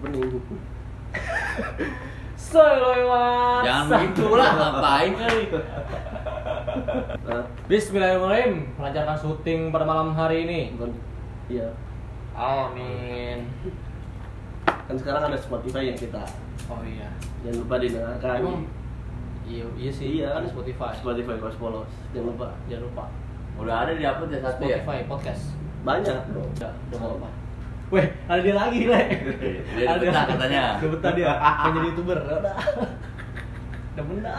penunggu Soy lewat. Jangan begitulah, ngapain kali. nah Bismillahirrahmanirrahim. Melancarkan syuting pada malam hari ini. bukan iya Amin. kan sekarang ada Spotify yang kita Oh iya. jangan lupa Nah, didengarkan Emang iya, iya sih. iya ada Spotify. Spotify pas polos jangan lupa Jangan lupa. Udah ada di upload ya satu ya. Spotify podcast. banyak bro Udah, udah nggak apa. Weh, ada dia lagi, Le. Dia udah betah katanya. Udah betah dia. Pengen jadi YouTuber. Udah. Udah benar.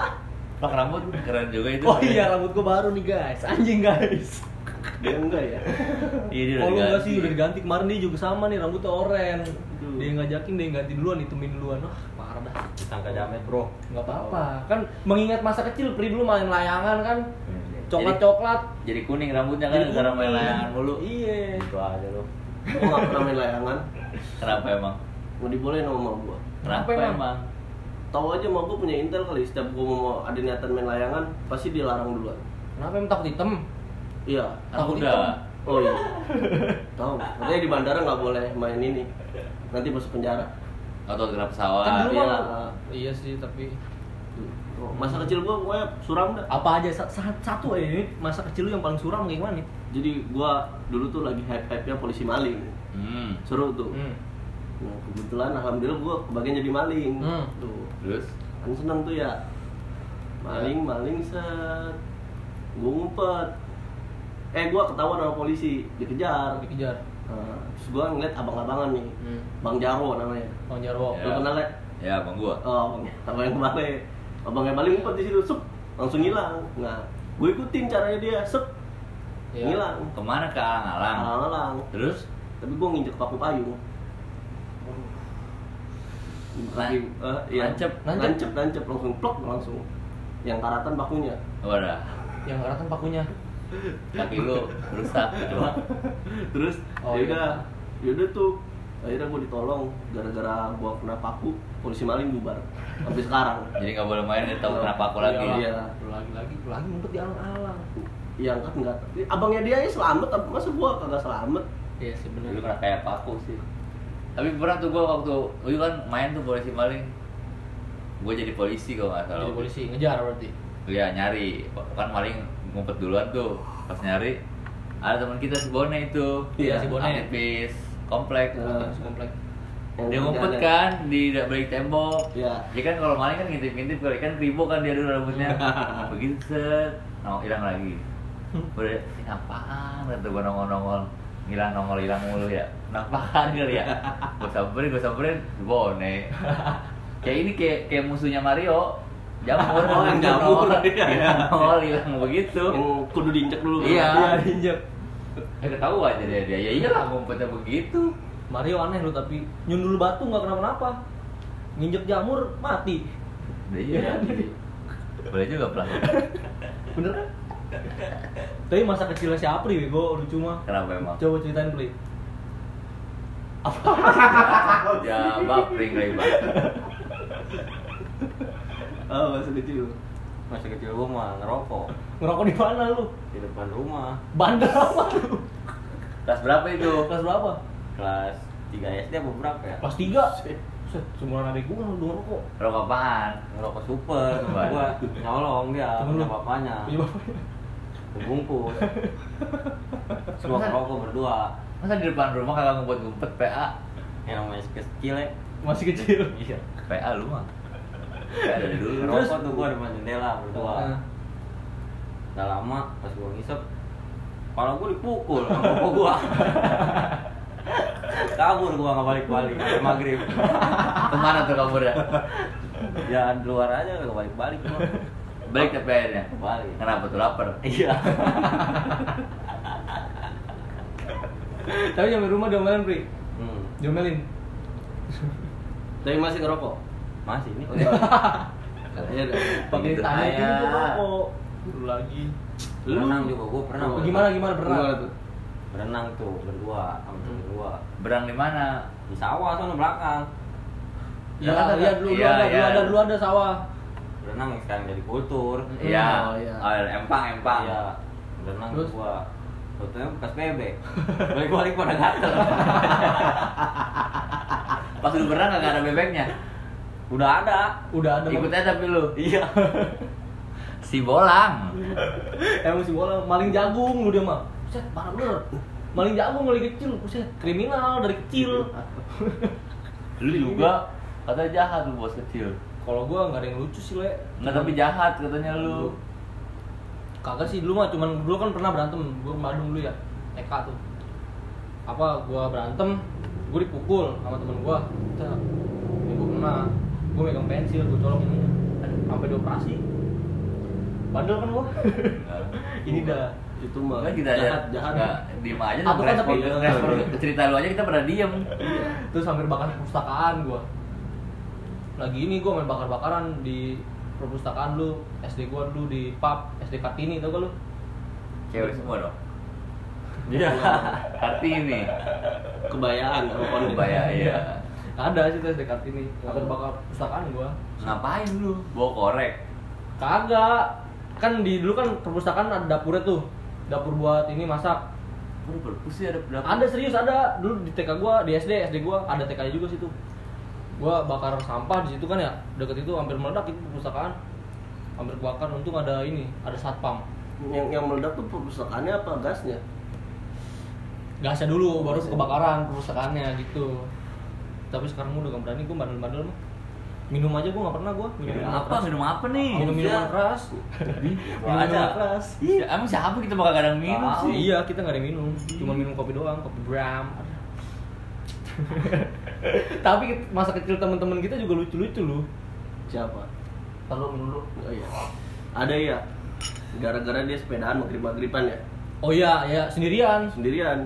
Pak rambut keren juga itu. Oh iya, rambut gua baru nih, guys. Anjing, guys. dia enggak ya Iya dia udah Oh lu enggak diganti. sih udah diganti kemarin dia juga sama nih rambutnya oren. Aduh. Dia yang ngajakin dia yang ganti duluan hitumin duluan. Wah, parah dah. Sangka jamet, Bro. Enggak apa-apa. Kan mengingat masa kecil Pri dulu main layangan kan. Iya. Coklat-coklat. Jadi kuning rambutnya kan gara main layangan mulu. Iya. Itu aja lu. gua nggak pernah main layangan Kenapa emang? mau dibolehin sama mama gua Kenapa Kenapa emang? emang? tahu aja mama gua punya intel kali setiap gua mau ada niatan main layangan pasti dilarang duluan Kenapa emang takut hitam? iya Takut Aku Kan udah. oh iya tahu katanya di bandara nggak boleh main ini nanti masuk penjara Atau kena Kan pesawat. dulu iya. mah. Iya sih, tapi Tuh. Oh, masa kecil gua gua suram dah apa aja sa- sa- satu aja ini masa kecil lu yang paling suram kayak gimana nih? jadi gua dulu tuh lagi hype hype nya polisi maling Hmm. seru tuh nah kebetulan alhamdulillah gua kebagian jadi maling Hmm. tuh Terus kan seneng tuh ya maling maling set gua ngumpet eh gua ketahuan sama polisi dikejar Dikejar. nah, terus gua ngeliat abang-abangan nih Hmm. bang Jarwo namanya Bang Jarwo. Lu kenal, Le? ya bang gua. Oh, abang yang kemarin. Abang yang paling ngumpet di situ, sup, langsung hilang. Nah, gue ikutin caranya dia, sup, Iya. Ah. hilang. Kemana ke Alang-Alang? Alang-alang. Terus Tapi gue nginjek paku payung. Lan- Lagi, eh, iya. lancep. Lancep. lancep, lancep, langsung plok, langsung. Yang karatan pakunya. wadah Yang kan pakunya. kaki lu rusak coba. Terus, ya Oh, yaudah, yaudah tuh. Akhirnya gue ditolong, gara-gara gue kena paku, polisi maling bubar. Sampai sekarang. Jadi nggak boleh main dia tahu kenapa aku lagi. Iya. Lu lagi-lagi, lu lagi ngumpet di alang-alang. Yang kan enggak. Abangnya dia aja selamat, tapi masa gue kagak selamat? Iya sih benar. Dulu pernah kayak paku sih. Tapi pernah tuh gua waktu Uyu kan main tuh polisi maling. Gua jadi polisi kalau nggak salah. Jadi polisi ngejar berarti. Iya nyari. Kan maling ngumpet duluan tuh. Pas nyari ada teman kita si Bone itu. Iya, si Bone. Iya, Aktivis komplek. Nah. Terus komplek. Dia ngumpet kan di da- balik tembok. Oh, Iya. Dia kan kalau maling kan ngintip-ngintip kali kan kribo kan dia dulu rambutnya. Begitu set, nongol hilang lagi. Udah, ini apaan? Kata gua nongol-nongol. Hilang nongol hilang mulu ya. Napaan kali ya? Gua samperin, gua samperin, dibone. Kayak ini kayak kayak musuhnya Mario. Jamur, Oh, yang jamur. nongol, Iya. Oh. nongol hilang begitu. Yang kudu diinjak dulu. kan? Iya. injek. Eh ketahuan aja dia dia. Ya iyalah ngumpetnya begitu. Mario aneh lu tapi nyundul batu nggak kenapa-napa. Nginjek jamur mati. Udah iya. Boleh juga pelan. Bener kan? tapi masa kecilnya si Apri bego lucu mah. Kenapa emang? Coba ceritain Pri. Ya, bapring lagi bang. Oh, masa kecil. Masih kecil gua mah ngerokok Ngerokok di mana lu? di depan rumah. Bandel apa lu? Kelas berapa itu? Kelas berapa? Kelas 3 SD apa berapa ya? Kelas 3. Set, semuran adik gua kan udah ngerokok. Rokok apaan? Ngerokok super, temen gua nyolong dia, Temen punya lu? bapaknya. Iya bapaknya. Dibungkus. Semua ngerokok berdua. Masa di depan rumah kagak ngumpet ngumpet PA? Yang namanya kecil ya. Masih kecil. Iya. PA lu mah. PA dari dulu. Terus? Ngerokok tuh gua depan jendela berdua. Nah, Gak lama pas gua ngisep kalau gua dipukul sama bapak gua. Kabur gua nggak balik-balik sampai maghrib. Kemana tuh kaburnya? Jalan keluar Ya, aja nggak balik-balik gua. Balik ya? ke PA-nya. Balik. Kenapa tuh lapar? Iya. Tapi nyampe rumah diomelin Pri. Hmm. Diomelin. Tapi masih ngerokok. Masih ini. Enggak. Iya dah. Pakai Gitu tanya aja. gitu gua ngerokok. Lu lagi. Lu Berenang juga gua pernah. Oh, Gimana gimana pernah? Gimana tuh? Berenang tuh berdua sama temen gua. Berang di mana? Di sawah sana belakang. Iya, Nah, iya kan? dulu dulu Iya, ada, iya. dulu ada, dulu ada sawah. Berenang yang sekarang jadi kultur. Ah, Iya. Oh, iya. Oh, empang empang. Iya. Berenang Terus? gua. Fotonya bekas bebek. Balik-balik pada gatel. Pas dulu berenang nggak ada bebeknya Udah ada. Udah ada. ikut aja tapi lu Iya. si bolang Emang si bola maling jagung lu dia mah. Buset, parah bener. Maling jagung dari kecil, buset, kriminal dari kecil. lu juga katanya jahat lu bos kecil Kalau gua nggak ada yang lucu sih, Le. nggak tapi jahat katanya lu Kagak sih dulu mah cuman dulu kan pernah berantem gua ke Bandung dulu ya. Eka tuh. Apa gua berantem, gua dipukul sama temen gua. Kita ya gua kena gua megang pensil, gua colok ini. Aduh, sampai dioperasi. Bandel kan gua. ini dah. itu mah Kan kita jahat ada jahat nggak diem aja Atau kan ngerespon- tapi- ngerespon cerita lu aja kita pernah diem terus hampir bakar perpustakaan gua lagi ini gua main bakar-bakaran di perpustakaan lu SD gua dulu di pub SD Kartini tau gak lu cewek semua dong Iya. kartini kebayaan sama konde. kebaya ya ada sih tuh SD Kartini bakar bakar perpustakaan gua ngapain lu bawa korek kagak kan di dulu kan perpustakaan ada dapurnya tuh dapur buat ini masak Lu berpus sih ada berapa? ada serius ada dulu di TK gua di SD SD gua ada TK nya juga situ gua bakar sampah di situ kan ya deket itu hampir meledak itu perpustakaan hampir kebakar untung ada ini ada satpam yang yang meledak tuh perpustakaannya apa gasnya gasnya dulu baru kebakaran perpustakaannya gitu tapi sekarang gua udah gak berani gue bandel-bandel mah minum aja gue gak pernah gue minum Minum apa? Minum apa nih? minum minuman keras minum Wah, ada. minuman keras Ih, Emang siapa kita bakal kadang minum Tahu. sih? iya kita gak ada yang minum cuma minum kopi doang kopi bram tapi masa kecil teman-teman kita juga lucu-lucu lu siapa kalau minum dulu oh iya ada ya gara-gara dia sepedaan magrib magriban ya oh iya ya sendirian sendirian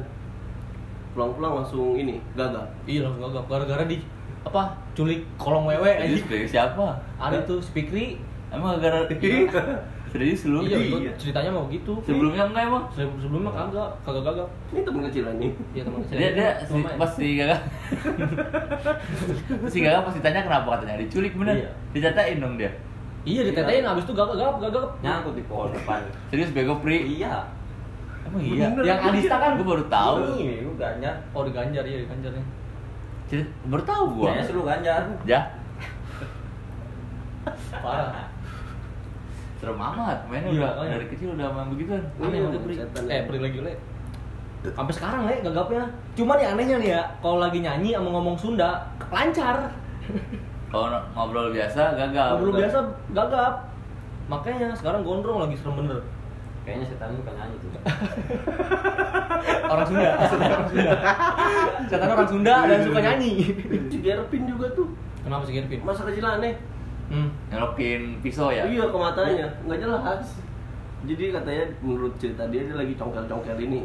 pulang-pulang langsung ini gagal iya langsung gagap gara-gara di apa culik kolong wewe Jadi aja sebagai siapa? ada tuh si Fikri Emang gara Serius lu? iya, gua ceritanya mau gitu Sebelumnya enggak emang? Sebelum sebelumnya kagak, kagak gagap. ini temen kecil lah ini Iya teman kecil. Dia, dia si, Cuma main. pas si kakak Si kakak pas ditanya kenapa katanya diculik bener Iya. Dicatain dong dia Iya ditetain abis itu gagap gagap gagap. Nyangkut di pohon depan. Serius bego pri Iya. Emang iya? Bener. Yang Adista kan? Gue baru tahu Ini lu ganjar. Oh diganjar iya diganjar ya. Cerit- Baru tahu gua Iya, Kayaknya sih lu ganjar. Ya Parah. Serem amat mainnya Iya, udah makanya. dari kecil udah main begituan Aneh Iya, banget Pri. setan. Eh Pri lagi le. Sampai sekarang le gagapnya. Cuman yang anehnya nih ya, kalau lagi nyanyi sama ngomong Sunda lancar. Kalau no- ngobrol biasa gagal Kalau biasa gagap. Makanya sekarang gondrong lagi serem bener. Kayaknya setan lu kan nyanyi tuh. Orang Sunda, setan orang Sunda. Setan orang Sunda dan Iya, suka nyanyi. digerpin juga tuh Kenapa sih Gervin? masa kecil aneh Hmm. Oh, Nyolokin pisau ya? iya ke matanya nggak jelas jadi katanya menurut cerita dia dia lagi congkel-congkel ini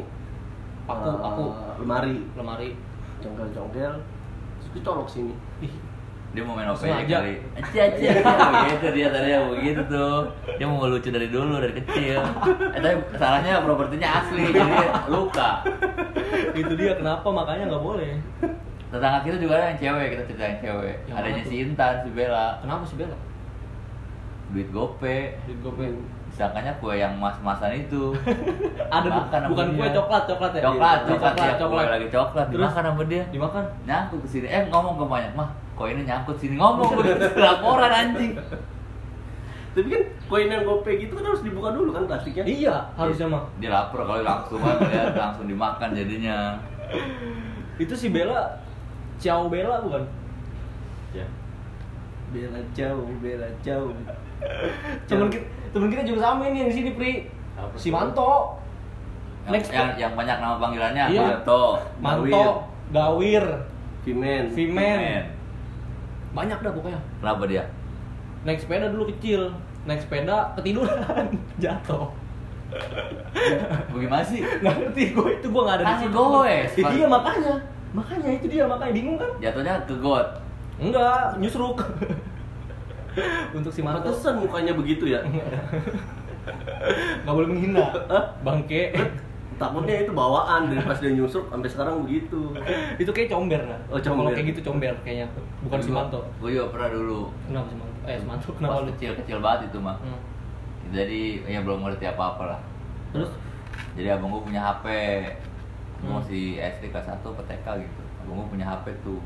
Paku, Eh, paku. lemari Lemari. congkel-congkel terus kecolok sini Dia mau main OPD Sengaja. kali Iya, Aja aja Begitu dia tadi ya begitu tuh Dia mau lucu dari dulu dari kecil eh, Tapi salahnya propertinya asli Jadi luka itu Gitu dia kenapa makanya nggak boleh Tetangga kita juga ada yang cewek Kita cerita yang cewek Yang Adanya mana si Intan, si Bella kenapa sih Bella Duit gope duit gope Disangkanya kue yang mas-masan itu ada bu- Makan sama bukan dia. kue coklat coklat ya Coklat, Iya, coklat, ya, coklat Kue lagi coklat Terus? Dimakan sama dia dimakan nyangkut ke sini eh ngomong ke banyak mah kok ini nyangkut sini ngomong begitu laporan anjing tapi kan koin yang gope gitu kan harus dibuka dulu kan plastiknya iya harusnya mah dia lapar kalau langsung kan lihat langsung dimakan jadinya itu si Bella Ciao Bella bukan Iya. bela jauh bela jauh temen kita temen kita juga sama ini yang di sini Pri Apa si tuh? Manto yang, Next. yang, yang banyak nama panggilannya Iya. Manto Gawir. Manto Gawir Vimen Vimen banyak dah pokoknya kenapa dia naik sepeda dulu kecil naik sepeda ketiduran jatuh bagaimana sih nggak ngerti gue itu gue nggak ada Kan goes. iya makanya makanya itu dia makanya bingung kan jatuhnya ke got Enggak, nyusruk. Untuk si Marco pantesan mukanya begitu ya nggak boleh menghina. Bangke. takutnya itu bawaan dari pas dia nyusuk sampai sekarang begitu itu kayak comber nah. Oh, comber. Kalau kayak gitu comber kayaknya. Bukan Iya. si Manto. gue juga pernah dulu Kenapa si Manto? Eh, si Manto pas kenapa lu? kecil kecil banget itu mah Hmm. jadi ya belum ngerti apa apa lah Terus jadi abang gue punya HP gue Hmm. masih SD kelas 1 PTK gitu abang gue punya HP tuh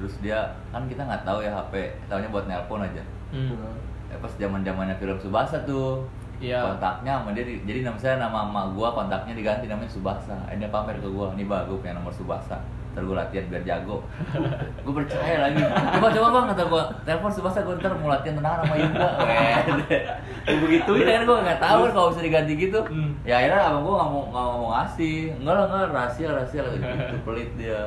terus dia kan kita nggak tahu ya HP tahunya buat nelpon aja Hmm. eh, pas zaman zamannya film Subasa tuh Iya. kontaknya sama dia di- jadi nama saya nama emak gua kontaknya diganti namanya Subasa eh, dia pamer ke gua nih bang gua punya nomor Subasa ntar gua latihan biar jago gua percaya lagi coba coba bang kata gua telepon Subasa gua ntar mau latihan tenang sama Yuda Gua begituin kan gua nggak tahu kan kalau bisa diganti gitu Hmm. ya akhirnya abang gua nggak mau nggak mau ngasih enggak lah enggak rahasia rahasia lah gitu pelit dia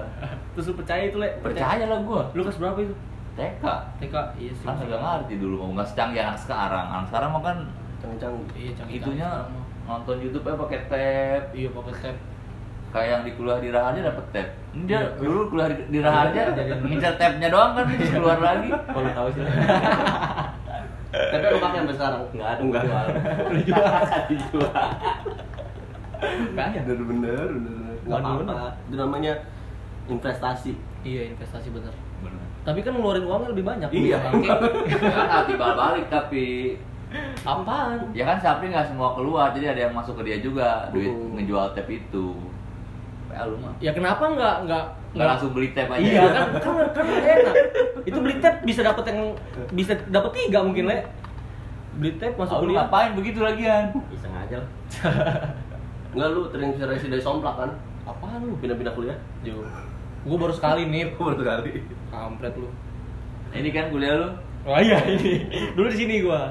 Terus lu percaya itu, Le? percaya lah gua Lu kelas berapa itu? TK TK. Iya sih. kan nggak ngerti dulu mau nggak secanggih anak sekarang anak sekarang mah kan Canggih-canggih. Iya, canggih. itunya canggih. nonton YouTube eh pakai tab Iya, pakai tab. kayak yang di kuliah di Raharja dapat tab Iya. dia dulu kuliah di- di Raharja ngincer tabnya doang kan terus keluar lagi Kalau tahu sih. Tapi lu pakai sampai sekarang? Nggak ada. Enggak. Dijual. Kayaknya bener bener bener. Enggak apa-apa. Itu namanya investasi. Iya, investasi bener. Tapi kan ngeluarin uangnya lebih banyak. Iya. kan hati balik tapi Apaan? ya kan Sapri nggak semua keluar jadi ada yang masuk ke dia juga duit Oh. Hmm. ngejual tab itu ya lu mah Ya kenapa nggak nggak nggak langsung beli tab aja Iya kan kan kan enak. Itu beli tab bisa dapat yang bisa dapat tiga mungkin le. Beli tab masuk masuk kuliah kuliah. ngapain begitu lagian Iseng aja lah. Enggak lu terinspirasi dari somplak kan? Apaan lu? Pindah-pindah kuliah? Jo. Gue baru sekali nih. Baru kali. Kampret lu. ini kan kuliah lu Oh iya ini. Dulu di sini gua.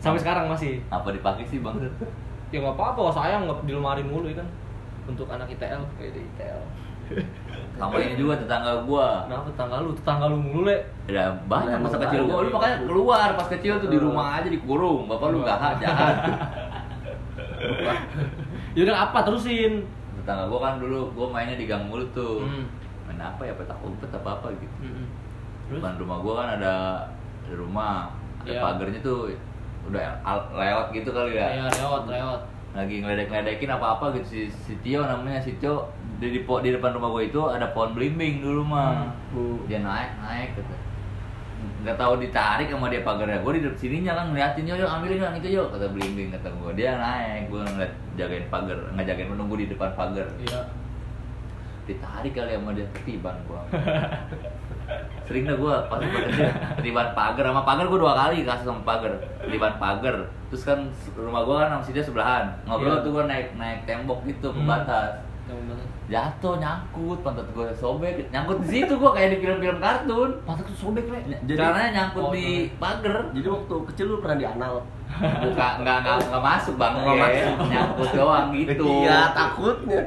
Sampai sekarang masih. apa dipakai sih bang Ya nggak apa-apa, sayang nggak di lemari mulu ya kan. Untuk anak ITL, kayak di ITL. sama ini juga tetangga gua Kenapa tetangga lu? Tetangga lu mulu le. Ya banyak Emang masa kecil banyak, gua, lu iya. makanya keluar pas kecil tuh di rumah aja dikurung, bapak lu gak jahat. Ya udah apa terusin? Tetangga gua kan dulu gua mainnya di gang mulut tuh, Hmm. main apa ya petak umpet apa apa gitu. Mm-mm. Terus? Depan rumah gua kan ada, ada rumah, ada Iya. pagernya tuh udah al- lewat gitu kali ya. Iya, lewat, lewat. Lagi ngeledek-ngeledekin apa-apa gitu si, si Tio namanya si Tio di, di, po- di depan rumah gua itu ada pohon belimbing dulu mah. Hmm. dia naik naik kata nggak tahu ditarik sama dia pagarnya gue di depan sininya kan ngeliatin yuk yuk ambilin yuk itu yuk kata belimbing kata gue dia naik gue ngeliat jagain pagar nggak jagain menunggu di depan pagar Iya. ditarik kali sama dia ketiban gue sering dah gue pas gua kecil ketiban pagar sama pagar gue dua kali kasus sama pagar ketiban pagar terus kan rumah gue kan sama si dia sebelahan ngobrol Iya. tuh gue naik naik tembok gitu Hmm. pembatas Yang bener. jatuh nyangkut pantat gue sobek nyangkut di situ gue kayak di film-film kartun Pantat tuh sobek, Le. Ny- Jadi- Caranya Oh, nyangkut di pagar. Jadi waktu kecil lu pernah di anal. Buka nggak nggak nggak masuk bang, Nggak Oke. masuk. nyangkut doang gitu. Iya, takutnya.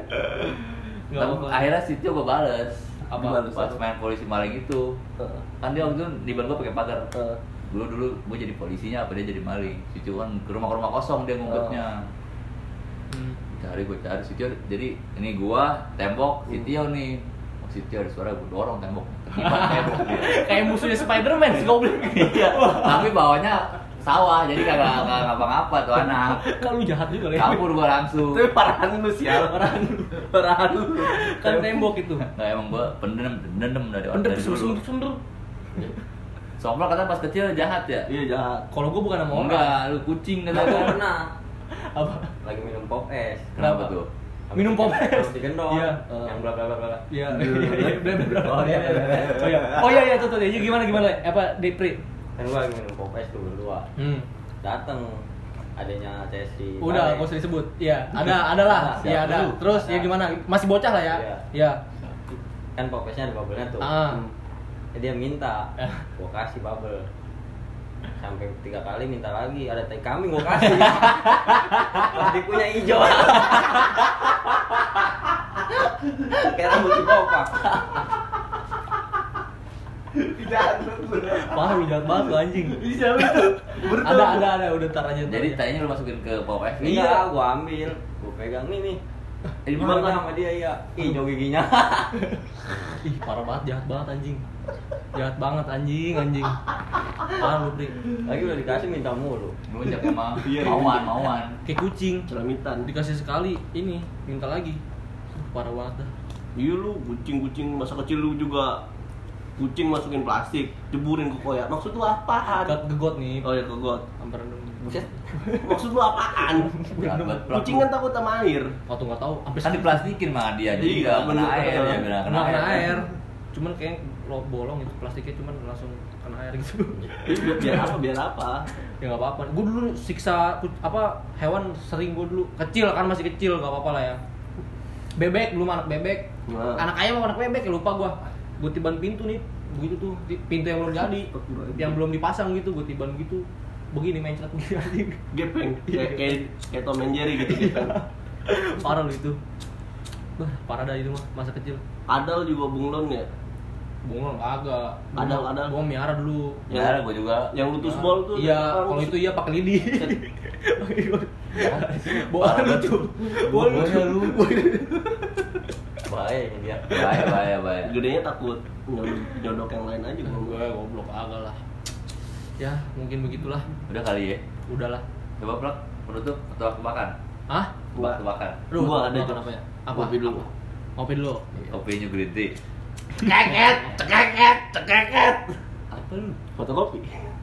Nggak Tapi apa-apa. akhirnya situ gue bales. Apa? Bales Pas main polisi maling itu, Heeh. kan dia waktu itu di ban gue pakai pagar. Heeh. Dulu dulu gue jadi polisinya apa dia jadi maling. Situ kan ke rumah rumah kosong dia ngumpetnya. Hmm. Cari gue cari situ jadi ini gua tembok Hmm. Sitio nih. Oh, Sitio ada suara gue dorong tembok. Ketiban tembok dia. Kayak musuhnya Spider-Man sih goblok. Iya. Tapi bawahnya sawah, jadi kagak kagak ngapa-ngapa tuh anak. Kan lu jahat juga, Le. Kabur gua langsung. Tapi parahan lu sial, parahan lu. Parahan lu. Kan tembok itu. Nah emang gua pendendam, pendendam dari Pendek dari dulu. sumber-sumber. Somplak kata pas kecil jahat ya. Iya jahat. Kalau gua bukan sama Mau orang. enggak, lu kucing kata Nggak gua. gua pernah. Apa? Lagi minum pop es. Kenapa tuh? Minum pop es. Terus digendong. Iya. Yang bla bla bla bla. Iya, iya, iya, bla, bla, bla. Oh, iya, iya, iya. Oh iya, oh iya, iya, tuh, tuh, iya, gimana, gimana, Le? apa, Depri? Kan gua lagi minum pop es tuh berdua. Hmm. Dateng adanya Chelsea. Udah, Balik. gak usah disebut. Iya, ada, ada lah. Siapa Iya, ada. lu? Terus, ya gimana? Masih bocah lah ya? Iya. Iya. Kan pop esnya ada bubble-nya tuh. Ah. Eh, dia minta Eh. gua kasih bubble sampai tiga kali minta lagi ada tai kambing gua kasih pasti punya hijau kayak rambut dikopak Jahat lu. Parah lu jahat banget lu anjing. Sial itu. Ada, ada, ada, udah ntar Iya. aja. ntar Jadi aja. tanya lu masukin ke pop F. iya gua ambil gua pegang nih nih Eh, di Gimana mana? sama dia iya hijau giginya Ih, parah banget, jahat banget anjing. Jahat banget anjing, anjing. Parah lu, Pri. lagi udah dikasih minta mulu Lu ajak sama Iya, iya. Mawan, Mawan. Kayak kucing. Celamitan. Dikasih sekali, ini, minta lagi. Parah banget dah. Iya lu kucing-kucing masa kecil lu juga kucing masukin plastik, jeburin ke koya. Maksud lu Gat apaan? gegot nih. Oh ya ke got. Hampir dong. buset Maksud lu apaan? Berat banget, pelaku. Kucing kan takut sama air. Waktu nggak tahu, hampir Kan diplastikin mah dia jadi Iya, nggak kena bener. air, dia nggak Kena kena air. cuman kayak lo bolong itu plastiknya cuman langsung kena air gitu Biar, biar apa? Biar apa? ya nggak apa-apa gue dulu siksa ku- apa hewan sering gue dulu kecil kan masih kecil nggak apa-apa lah ya bebek belum anak bebek Nah. anak ayam sama anak bebek ya lupa gue gue tiban pintu nih begitu tuh di- pintu yang belum jadi yang belum dipasang gitu gue tiban gitu begini mencret begini anjing. Gepeng. Iya. Kayak kayak kayak Tom and Jerry gitu gepeng. parah lu itu Bah, parah dari rumah masa kecil Adal juga bunglon ya. bongol agak Adal, adal. gue miara dulu Ya, ada gua juga. Yang lutus bol tuh. iya orang tuh- kalau itu iya pakai lidi Kan, bola Parah banget. lucu bola Bolanya lucu bahaya ini dia Bahaya, bahaya, bahaya. kan Gedenya takut nyodok nyodok yang lain aja. kan. Aduh, gue goblok agak lah ya mungkin begitulah Udah kali ya. udahlah Coba plak penutup atau aku makan. ah Coba aku makan. Aduh, Gua ada makan itu. apa ya? Apa? Kopi dulu. Apa? ngopi dulu Kopinya green tea. cekeket cekeket cekeket Apa lu? Fotokopi.